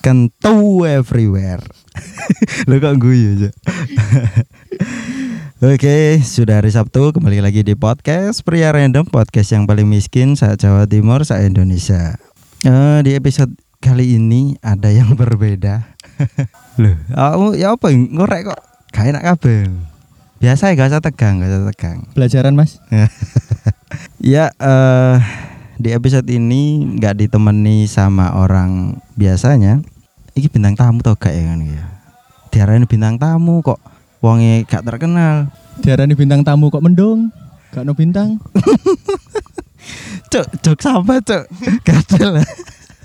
kentu Kan everywhere. Lo kok guyu aja. Oke, sudah hari Sabtu kembali lagi di podcast Pria Random, podcast yang paling miskin saat Jawa Timur, saat Indonesia. Eh, di episode kali ini ada yang berbeda. Loh, aku ya apa ngorek kok gak enak kabel. Biasa ya gak usah tegang, gak usah tegang. Pelajaran mas? Ya eh di episode ini nggak ditemani sama orang biasanya. Iki bintang tamu toh gak ya kan ya. Diarahin bintang tamu kok wonge gak terkenal. Diarani bintang tamu kok mendung? Gak no bintang? Cuk, cuk sama cuk. Gatel.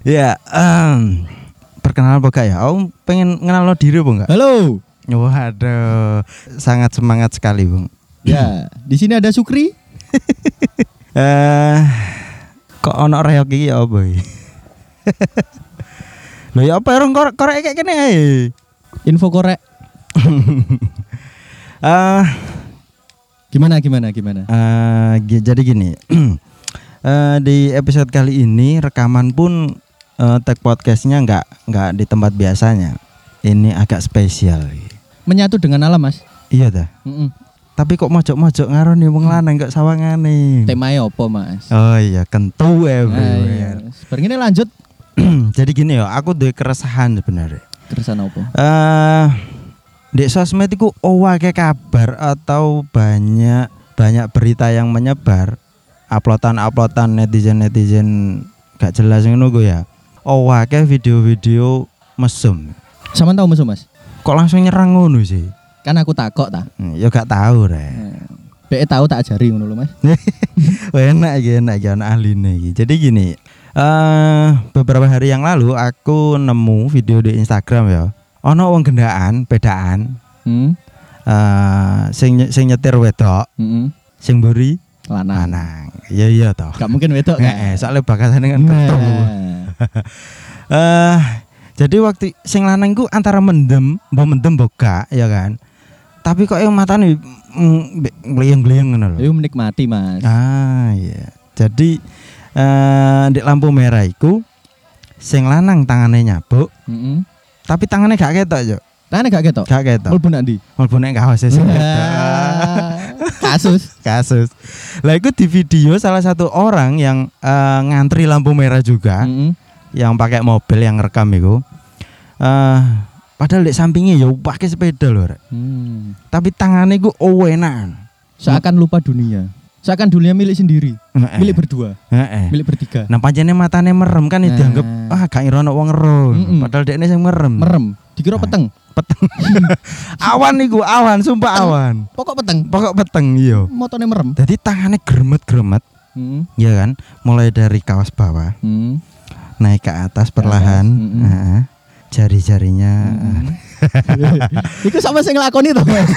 ya, em, perkenalan apa gak ya? Om pengen kenal diri apa enggak? Halo. Waduh, sangat semangat sekali, Bung. Ya, di sini ada Sukri. Eh, kok ono reok iki ya apa iki? Lho ya apa orang korek korek kayak kene ae. Info korek. Eh, Gimana gimana gimana? eh, gi- jadi gini. Eh, di episode kali ini rekaman pun eh, tag podcastnya nggak nggak di tempat biasanya. Ini agak spesial. Menyatu dengan alam mas. Iya dah. Mm-mm. Tapi kok mojok-mojok ngaruh nih wong lanang kok sawangane. Temanya apa mas? Oh iya, kentu Ah, everywhere. iya. Seperti ini lanjut. jadi gini ya, aku duwe keresahan sebenarnya. Keresan apa? eh di sosmed itu kayak kabar atau banyak banyak berita yang menyebar uploadan-uploadan netizen-netizen gak jelas ngono gue ya. kayak video-video mesum. Sama tahu musuh mas? Kok langsung nyerang ngono sih? Kan aku takok ta. Hmm, Ya gak tahu re. Be tahu tak ajari ngono lho mas. Wah, enak iki enak iki ana ahline iki. Jadi gini, eh beberapa hari yang lalu aku nemu video di Instagram ya. Ono wong gendaan, bedaan, Hmm. eh sing nye- sing nyetir wedok Mm-mm. sing mburi Lanang. lanang. Iya iya toh. Nah. Gak mungkin wedok Heeh, kan? soalnya bakasane kan ketemu. Eh jadi waktu sing lanang ku antara mendem, mbok mendem mbok gak, ya kan. Tapi kok yang matane ngliyeng-ngliyeng ngono lho. Ayo menikmati mas. Ah iya. Jadi eh di lampu merah iku sing lanang tangannya nyabuk, Mm-mm. tapi tangannya gak ketok yo. Tangannya gak ketok. Gak ketok. Mulpun nanti. Mulbone nek kaos Nah. sing ketok. Kasus. kasus. Lah itu di video salah satu orang yang eh, ngantri lampu merah juga Mm-mm. yang pakai mobil yang rekam itu. Eh padahal di sampingnya ya pakai sepeda loh, Rek. Hmm. tapi tangannya gue owenan. Seakan lupa dunia. Seakan dunia milik sendiri, milik berdua, Heeh. milik bertiga. Nah panjangnya matanya merem kan Nah. dianggap ah gak irono wong ero. Mm-mm. Padahal dekne sing merem. Merem, dikira Nah. peteng. Awan iku awan, sumpah awan. Pokok peteng, Pokok peteng iya. motone merem. Jadi tangannya gremet-gremet, Hmm. ya kan? Mulai dari kaos bawah Hmm. naik ke atas perlahan Mm-mm. Heeh. jari-jarinya Hmm. Iku sama sing nglakoni to, Mas.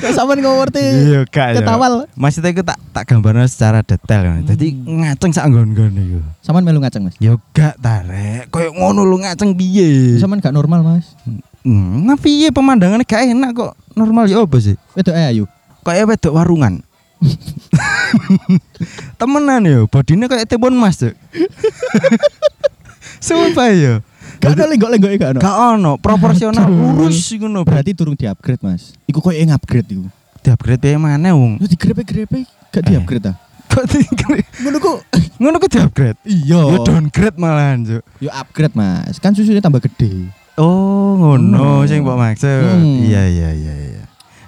Kok sampean kok ngerti iya kak ketawal. masih aku tak tak gambarnya secara detail kan. jadi ngaceng sak nggon-nggon iku Sampean melu ngaceng, Mas. ya gak tarek koyo ngono lu ngaceng piye Sampean gak normal, Mas. hmm, nah piye pemandangannya gak enak kok normal ya apa sih Wedok ae ayu. kayak wedok warungan temenan ya bodinya kayak tebon mas tuh sumpah ya Gak ada lenggok-lenggoke gak ono. gak ono proporsional Aduh. lurus ngono Berarti turun di-upgrade, Mas. Iku koyo upgrade iku. diupgrade piye maneh wong Lu digrepe-grepe gak di-upgrade ta? Kok di-upgrade? Ngono kok Ngono ku di-upgrade. iya. Ya downgrade malahan, Cuk. Yo upgrade, Mas. Kan susunya tambah gede. Oh, ngono Hmm. sing mbok maksud. Hmm. Iya, iya, iya, iya.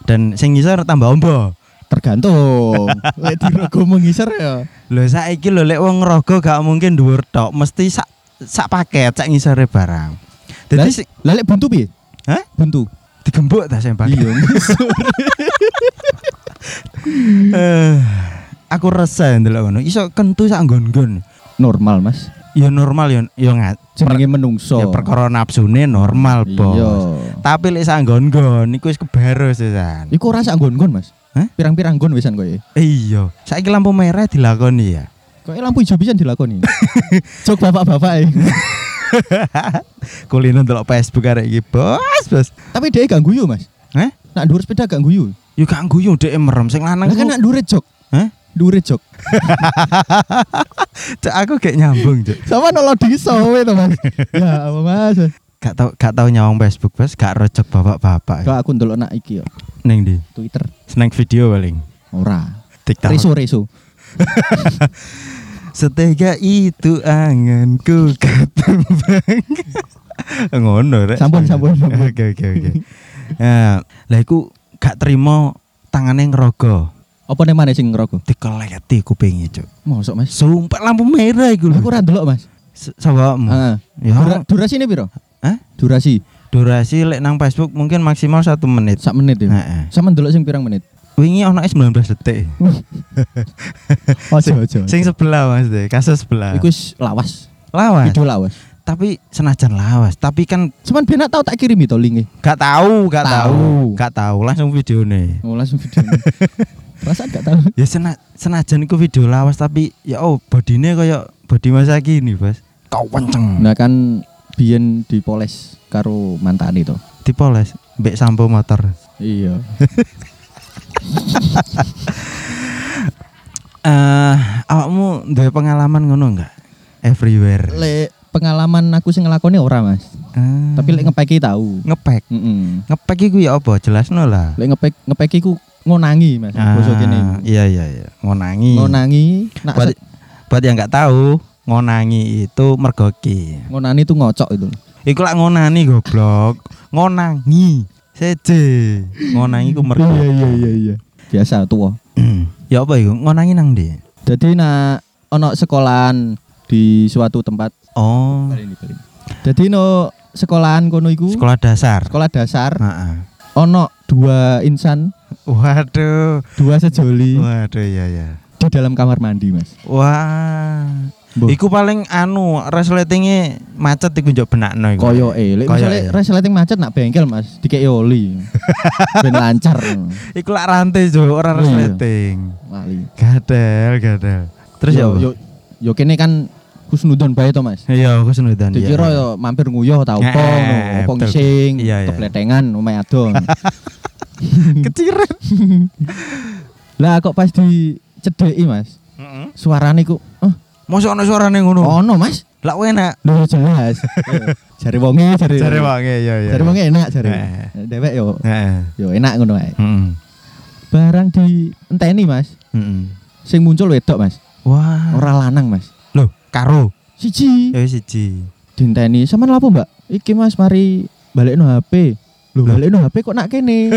Dan sing ngisor tambah ombo. Tergantung. Lek dirogo mengisar ya. Lho saiki lho lek wong rogo gak mungkin dhuwur tok, mesti sak sak paket sak ngisore barang. Dadi Lah- sing Lah lek buntu piye? Hah? Buntu. digembok ta sing paket. Iya. ngisor. Eh, aku resah ndelok ngono. Iso kentu sak nggon-nggon. Normal, Mas. Ya normal ya ya ngat. Jenenge menungso. Ya perkara nafsune normal, Bos. Iya. Tapi lek sak nggon-nggon iku wis ya, kebaros sisan. Iku ora sak nggon-nggon, Mas. Hah? Pirang-pirang nggon wisan koyo. Iya, saiki lampu merah dilakoni ya. Koyo lampu ijo pisan dilakoni. Jok bapak-bapak. e. Kulino ndelok Facebook arek iki, Bos, Bos. Tapi dia gak guyu, Mas. Heh? Nak dhuwur sepeda gak guyu. Yo gak guyu dhek merem sing lanang. Lah kan ku- nak dhuwure jok. Hah? Dhuwure jok. Cak aku gak nyambung, Cuk. Sama nolok diso we to, Mas. ya, apa Mas? gak tau gak tau nyawang Facebook bos gak rojok bapak-bapak Kau aku ndelok nak iki yo. neng di Twitter seneng video paling ora. TikTok Reso reso. Setega itu anganku ketembang. Ngono rek. Sampun, sampun, sampun. Oke oke oke. Ya, Lah iku gak terima tangane ngerogo. Apa nih mana sing ngerokok? Dikeleti kupinge, Cuk. Mosok Mas. Sumpah lampu merah iku lho. Aku ora ndelok Mas. S- Sawamu. Heeh. Ya. Dura- durasi ini piro? Hah? Durasi Durasi lek nang Facebook mungkin maksimal satu menit. sak menit ya. Heeh. Sama ndelok sing pirang menit. Wingi ono 19 detik. Ojo Nah. ojo. Sing sebelah Mas deh, kasus sebelah. Iku wis lawas. lawas. Video lawas. Tapi senajan lawas, tapi kan Cuman ben tau tak kirimi to linke. gak tahu, gak tahu, Tahu. gak tahu langsung videone. Oh, langsung video. Perasaan gak tahu. ya sena, senajan iku video lawas tapi ya oh bodine kaya body masa gini bos kau kenceng Nah kan biyen dipoles karo mantane to. dipoles mbek sampo motor Iya. eh awakmu duwe pengalaman ngono enggak everywhere Lek pengalaman aku sing ngelakoni ora, Mas. Ah. Tapi lek ngepeki tahu. ngepek Heeh. ngepek iku ya apa jelasno lah Lek ngepek ngepeki ku ngonangi, Mas. Basa kene. iya iya iya ngonangi Ngonangi, nak buat, se- buat yang nggak tahu ngonangi itu mergoki ngonani itu ngocok itu. iku lak ngonani goblok ngonangi seje ngonangi ku mergoki iya iya. Biasa tua. ya apa iku ngonangi nang ndi Jadi nak ono sekolahan di suatu tempat. Oh, Jadi no sekolahan kono iku sekolah dasar. sekolah dasar Heeh. ono dua insan, Waduh. dua sejoli Waduh ya ya. di dalam kamar mandi, Mas. Wah. Mbah. Iku paling anu resletingnya macet iku njok benakno iku. Koyo eh, lek Koyo e. misale resleting macet nak bengkel Mas, dikei oli. ben lancar. Iku lak rantai jo ora Oh, Iya. resleting. Lali. Gadel, gadel. Terus ya apa? yo yo kene kan kusnudon bae to Mas. Iya, aku senudan. iya. Dikira yo mampir nguyoh ta opo Eh, ngono, opo betul. ngising, Iya, iya. kepletengan omahe adon. keciren. Lah kok pas dicedeki Mas, Heeh. suarane ku eh Mosok ana suarane ngono. ono Mas. Lak enak. Lho jelas. Eh, Jare wonge, jare. Jare wange ya ya. Jare wonge enak jare. Eh. Dewek yo Heeh. yo enak ngono ae. Heeh. Barang di enteni Mas, Heeh. sing muncul wedok Mas, Wah. ora lanang Mas. Loh, karo. Siji. Ya siji. Dinteni, sampean lapo, Mbak? Iki Mas mari balekno HP. Lho, Lah. balekno HP kok nak kene.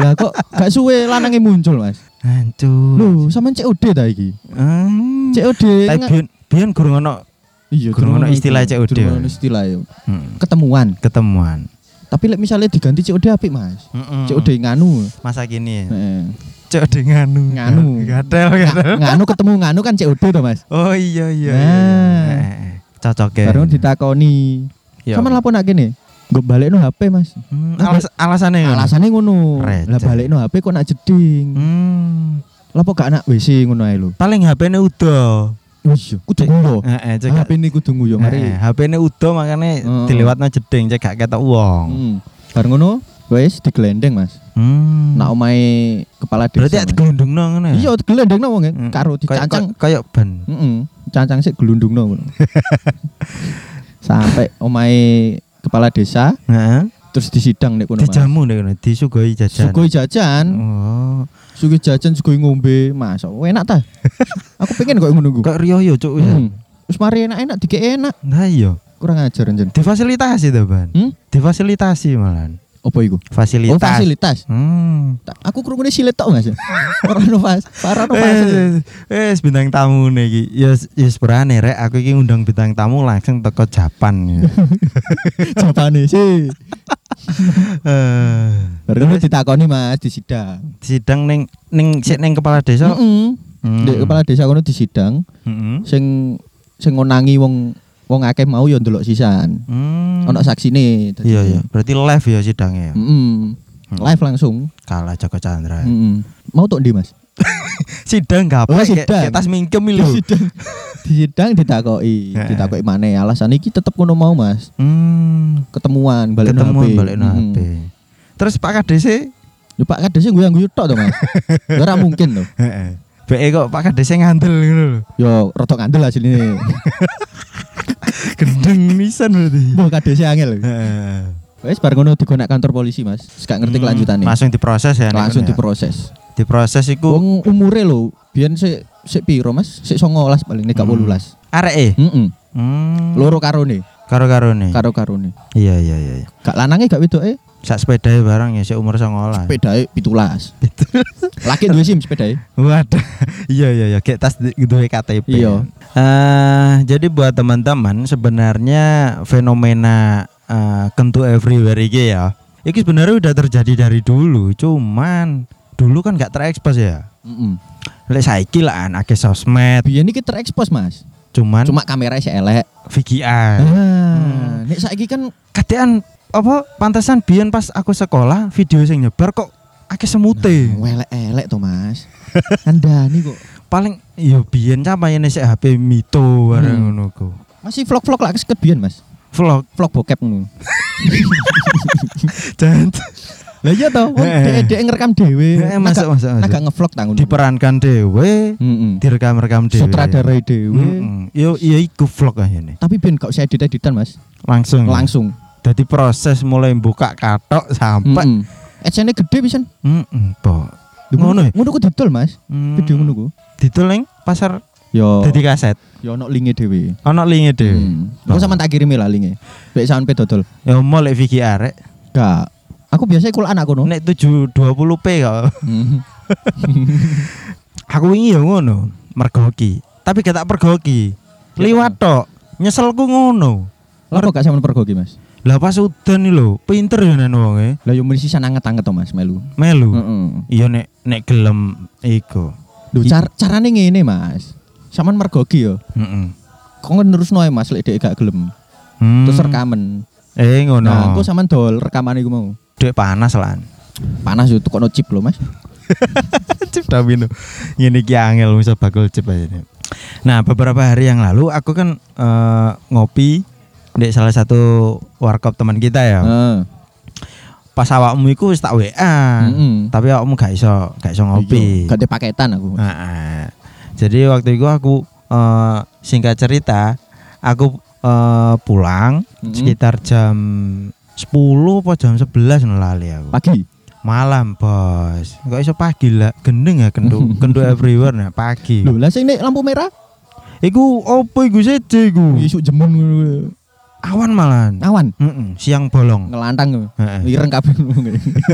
Lah kok gak suwe lanange muncul, Mas. Hancur. Lho, sampean COD ta iki? Hmm. COD. Tapi nge- biyen biyen gurung ono Iya, gurung ono iku. istilah COD. Durung ono istilah yo. Ketemuan. mm, ketemuan. Tapi lek misalnya diganti COD apik, Mas. Hmm. COD nganu. masa kini. ya? Heeh. COD nganu. Nganu. Gatel gatel. Nga- Nganu ketemu nganu kan COD to, Mas. Oh iya iya. Eh, Nah. Cocok ya. Baru ditakoni. Sampean lapo nak kene? Nggo balekno HP, Mas. Hmm, alas, alasannya ngono? Alasannya ngono. Receh. Lah balekno HP kok nak jeding. Hmm. Lah kok gak anak WC ngono ae lho. Paling HP-ne udo. Wis, kudu nguyo. Heeh, cek. Eh, HP ini kudu nguyo Heeh, mari. Ah, HP-ne udo makane Heeh. dilewatno jeding cek gak ketok wong. Hmm. Bar ngono wis digelendeng, Mas. Hmm. Nak omahe kepala desa. Berarti ya Mas. digelundungno ngono ya? Iya, digelendengno wong Hmm. karo Kayak- dicancang. kayak ban. Heeh. Cancang sik gelundungno ngono. Sampai omahe kepala desa Heeh. terus disidang nek kono. Mas. dijamu nih kono disugoi jajan Sugoi jajan, oh sugoi jajan, sugoi ngombe, mas. Oh, enak ta? Aku pengen kok ngono ku. kok Rio yo cuk ya Hmm. Terus mari enak-enak dikek enak. nah iya Kurang ajar njen. difasilitasi tuh ban Hmm? Oh, difasilitasi malahan Apa iku? fasilitas Oh, fasilitas. hmm Ta- Aku kerungune silet tok Mas. Ora ono fas, ora ono fas. Eh, eh, bintang tamu nih, Ki. ya ya berani rek. Aku ini undang bintang tamu langsung teko Japan. ya. Hmm. Jawabane sih. Eh, Baru ditakoni Mas di sidang. sidang neng neng sik neng kepala desa. Heeh. Hmm. Ndek kepala desa kono di sidang Hmm. sing sing ngonangi wong wong akeh mau ya ndelok sisan. Hmm. Ono saksine. dadi- Iya iya. Hmm. Berarti live ya sidangnya. Hmm. ya? Mm-mm. Live langsung. Kalah Joko Chandra. Mm-mm. Mau tok ndi Mas? Sidang gak Hmm. Oh, apa? kayak- sidang. kayak tas mingkem Di lho. sidang. Di sidang ditakoki, Heeh. ditakoki maneh alasan iki tetep ngono mau Mas. Hmm. Ketemuan balik ketemuan HP. balik Mm-mm. HP. Terus Pak Kades Ya Pak kadang sih gue yang gue tok to Mas. Ora mungkin to. Be kok Pak Kades ngandel ngono lho. Yo rotok ngandel hasilnya Gendeng nisan berarti. Mbah kades angel. Heeh. Wes bar ngono digunakan kantor polisi, Mas. Gak Hmm, ngerti kelanjutannya. Langsung diproses ya. Nek, Langsung kan, ya? diproses. Diproses iku Wong umure lho, biyen sik sik piro, Mas? Sik 19 paling nek gak Hmm. 18. arek e. Heeh. Hmm. Loro karone, Karo-karone. karo-karone. Iya iya iya. iya. Gak lanange gak wedoke, Sak sepedae barang ya sik umur 19. sepedae 17. Laki duwe SIM sepedae. Waduh, iya iya iya, kayak tas di- duwe KTP. Iya. Eh, jadi buat teman-teman sebenarnya fenomena eh, kentu everywhere iki ya. Iki sebenarnya udah terjadi dari dulu, cuman dulu kan nggak terekspos ya. Heeh. Lek saiki lah anake sosmed, Biyen iki terekspos, Mas. cuman Cuma kamera sik elek. VGR. Hmm. Ah, nek saiki kan Kadean apa pantesan biyen pas aku sekolah video sing nyebar kok akeh semute. Welek-elek to, Mas. Andani kok. Paling yo biyen capane sik HP mito bareng Hmm. ngono ku. Masih vlog-vlog lah keseket biyen, Mas. Vlog Vlog bokep ngono. dan Lah iya to, wong Heeh. dhek ngerekam dhewe. Heeh, Eh, masuk, masuk, masuk. Agak ngevlog ta ngono. diperankan dewe Heeh. direkam-rekam dewe Sutradara dhewe. Mm-mm. yo yo iku vlog akhirnya Tapi ben gak usah edit-editan, Mas. langsung Langsung. jadi proses mulai buka katok sampai Heeh. Ecene gede pisan. Mm-mm, po ngono Ngono. ya? Ngono ku didol, Mas. Mm. Video ngono Oh. ku. didol ning pasar Yo. dadi kaset Yo ono linke dhewe. ana linge dewe Hmm. Oh. Aku sama tak kirimi lah linke. Lek sampe dodol. ya mau lek Vicky arek Gak. Aku biasanya kulaan aku no. nek 720p kok Hmm. aku wingi yo ngono mergoki tapi gak tak Iya, pergoki liwat tok nyeselku ngono Lah kok gak sampean pergo ki, Mas? lah pas udan iki lho pinter ya yo nang wonge Lah yo mesti san anget-anget to, Mas, melu. e. melu Heeh. Iya nek nek gelem iku. Lho car carane ngene, Mas. Sampean mergoki yo. Heeh. Hmm. Kok nerusno ae, Mas lek dhek gak gelem. Terus rekaman. Eh ngono. Nah, aku sampean dol rekaman iku mau. Dek panas lan. Panas yo tukokno chip lho, Mas. Cip Davino. Ngene iki angel bisa bakul cip aja. nih. Nah, beberapa hari yang lalu aku kan eh, ngopi Dek salah satu warkop teman kita ya. Heeh. Pas awakmu iku wis tak WA. Mm-mm. Tapi awakmu gak iso, gak iso ngopi. Hmm. Iya, Gak ada paketan aku. Heeh. Jadi waktu itu aku eh, singkat cerita, aku eh, pulang Mm-mm. sekitar jam 10 apa jam 11 ngono lali aku. Pagi. Malam, Bos. Kok iso pagi lah, gendeng ya kendu, kendu everywhere nah pagi. Lho, lah sing nek lampu merah Iku opo iku seje iku? isuk jemun ngono. Awan malahan. awan Mm-mm, siang Nah. bolong. ngelantang. Heeh. Ireng kabeh.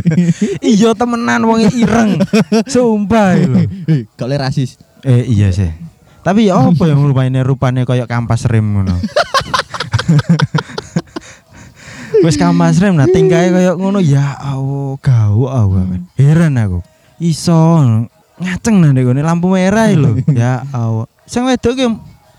Iya temenan wong ireng. Sumpah lho. Eh, gak oleh rasis. Eh iya sih. Tapi ya apa yang rupanya rupanya kayak kampas rem ngono. Wes kampas rem nah tingkae kayak ngono ya Allah gawok aku men. Heran aku. Iso ngaceng nang ngene lampu merah iki lho. Ya Allah. Sing wedok ki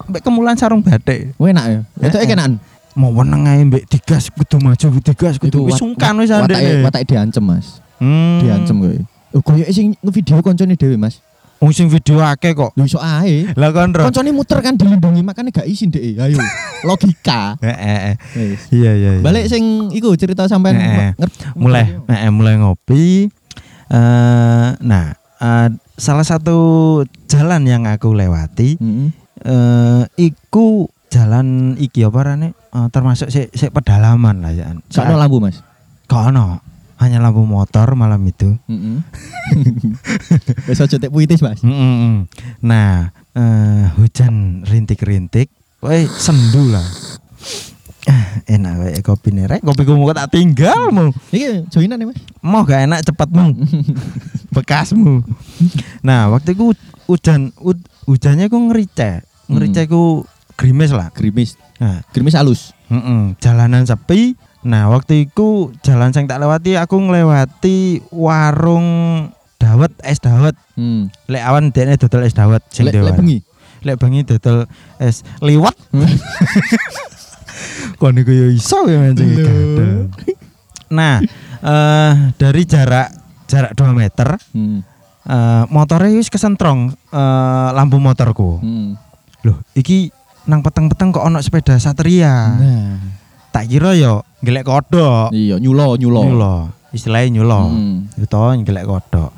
mbek kemulan sarung batik. Wah, Enak ya. Itu Heeh. enak. Mau weneng ae mbek digas kudu maju digas Iku kudu wis wat- sungkan wis wat- watake- andek. Watake e diancem, Mas. Hmm. Diancem kowe. Oh, koyo sing ngevideo koncone dhewe, Mas. Wong sing video akeh kok. Lho iso ae. Lah kon Ron. Koncone muter kan dilindungi, makanya gak izin dhek. Ayo. Logika. Heeh. Wes. Eh, Iya iya iya. Balik sing iku cerita sampean Heeh. ngerti- eh. mulai eh, mulai ngopi eh nah eh, salah satu jalan yang aku lewati Heeh. eh iku jalan iki apa rane Eh, termasuk sik sik pedalaman lah ya Sakno lampu, Mas. kono hanya lampu motor malam itu Heeh. Wis aja tek puitis, Mas. Mm, mm, mm. nah eh, hujan rintik-rintik woi sendu lah Ah, enak wae kopi nerek kopi mau tak tinggal mau Iki joinan ya, Mas. mau gak enak cepatmu bekasmu nah waktu itu hu- hujan hud- hujannya ku ngerice ngerice ku gerimis lah Grimis. nah, Grimis halus. mm-mm. jalanan sepi nah waktu itu jalan yang tak lewati aku ngelewati warung dawet es dawet Hmm. lek awan dene dodol es dawet sing Lek dewe. lek bengi. lek bengi dodol es liwat kon iku yo iso ya mancing Lho. gadel. nah eh dari jarak jarak 2 meter Hmm. Eh, motornya wis kesentrong eh, lampu motorku. Hmm. Loh, iki nang peteng-peteng kok ono sepeda Satria. Nah. Tak kira yo ngelek kodok. Iya, nyulo nyulo. Nyulo. Istilahnya nyulo. Hmm. Itu ngelek kodok.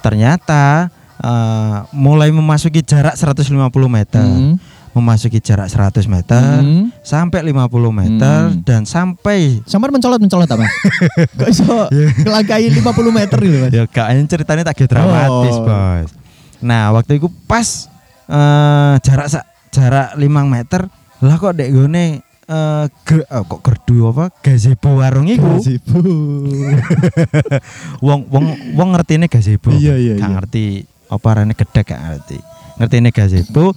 Ternyata eh, mulai memasuki jarak 150 meter. Hmm. memasuki jarak 100 meter Hmm. sampai 50 meter Hmm. dan sampai Sampai mencolot-mencolot apa? Kok iso kelangkai 50 meter gitu, Mas? ya kayaknya ceritanya tak gitu dramatis Oh. bos nah waktu itu pas eh, jarak sa- jarak 5 meter lah kok dek gone eh, ger- eh, kok gerdu apa gazebo warung iku Gazebo. wong wong wong ngertine gazebo Iya, iya, Gak iya. ngerti apa rene gedek gak ngerti ngertine gazebo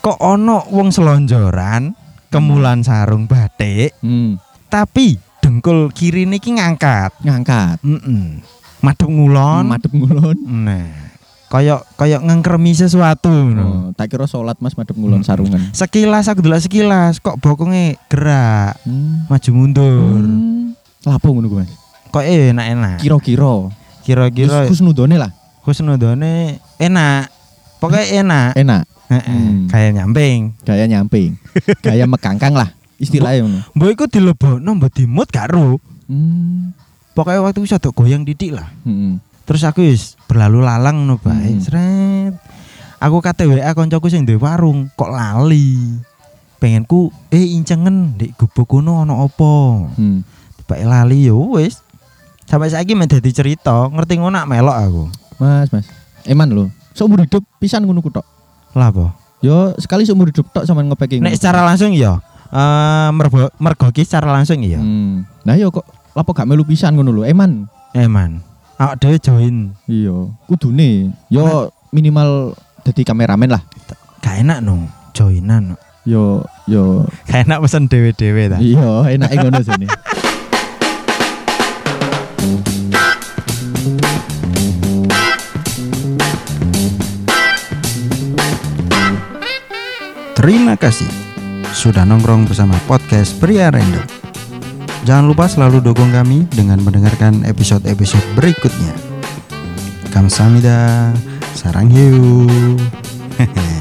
kok ono wong selonjoran kemulan sarung batik Hmm, tapi dengkul kiri niki ngangkat ngangkat. mm madhep ngulon Madep ngulon. nah koyok koyok ngengkremi sesuatu ngono. Oh, tak kira sholat Mas madep ngulon sarungan. sekilas aku dulu sekilas kok bokonge gerak Hmm. maju mundur Hmm. Lapo ngono ku, Mas? kok enak enak Kira-kira. kira-kira Kus- Kusnudone lah. khusnudone enak pokoknya enak Enak. Heeh, Hmm. kayak nyamping Gaya nyamping. Gaya mekangkang lah istilahnya ngono. mbok iku dilebokno mbok dimut gak ro Hmm. pokoknya waktu itu sadok goyang didik lah Hmm. terus aku wis berlalu lalang no bae Hmm. sret aku kate WA koncoku sing duwe warung kok lali pengenku eh incengen di gubuk kono ono apa Hmm. bae lali yo wis sampai saiki meh dadi cerita ngerti ngono nak melok aku Mas, Mas. Eman lho. Seumur hidup pisan ngono ku tok. lah apa Yo sekali seumur hidup tok sampean ngopeki. ngono. Hmm. nek secara langsung ya eh mergo mergoki secara langsung ya Hmm. Nah yo kok lapo gak melu pisan ngono lho. Eman. Hmm. eman Eh, awak dhewe join Iya, kudune. Yo minimal dadi kameramen lah. gak enak no joinan no. Yo yo gak enak pesen dewe-dewe ta iya enake ngono sini. Terima kasih sudah nongkrong bersama podcast Pria Random. Jangan lupa selalu dukung kami dengan mendengarkan episode-episode berikutnya. Kamsahamnida, sarang hiu.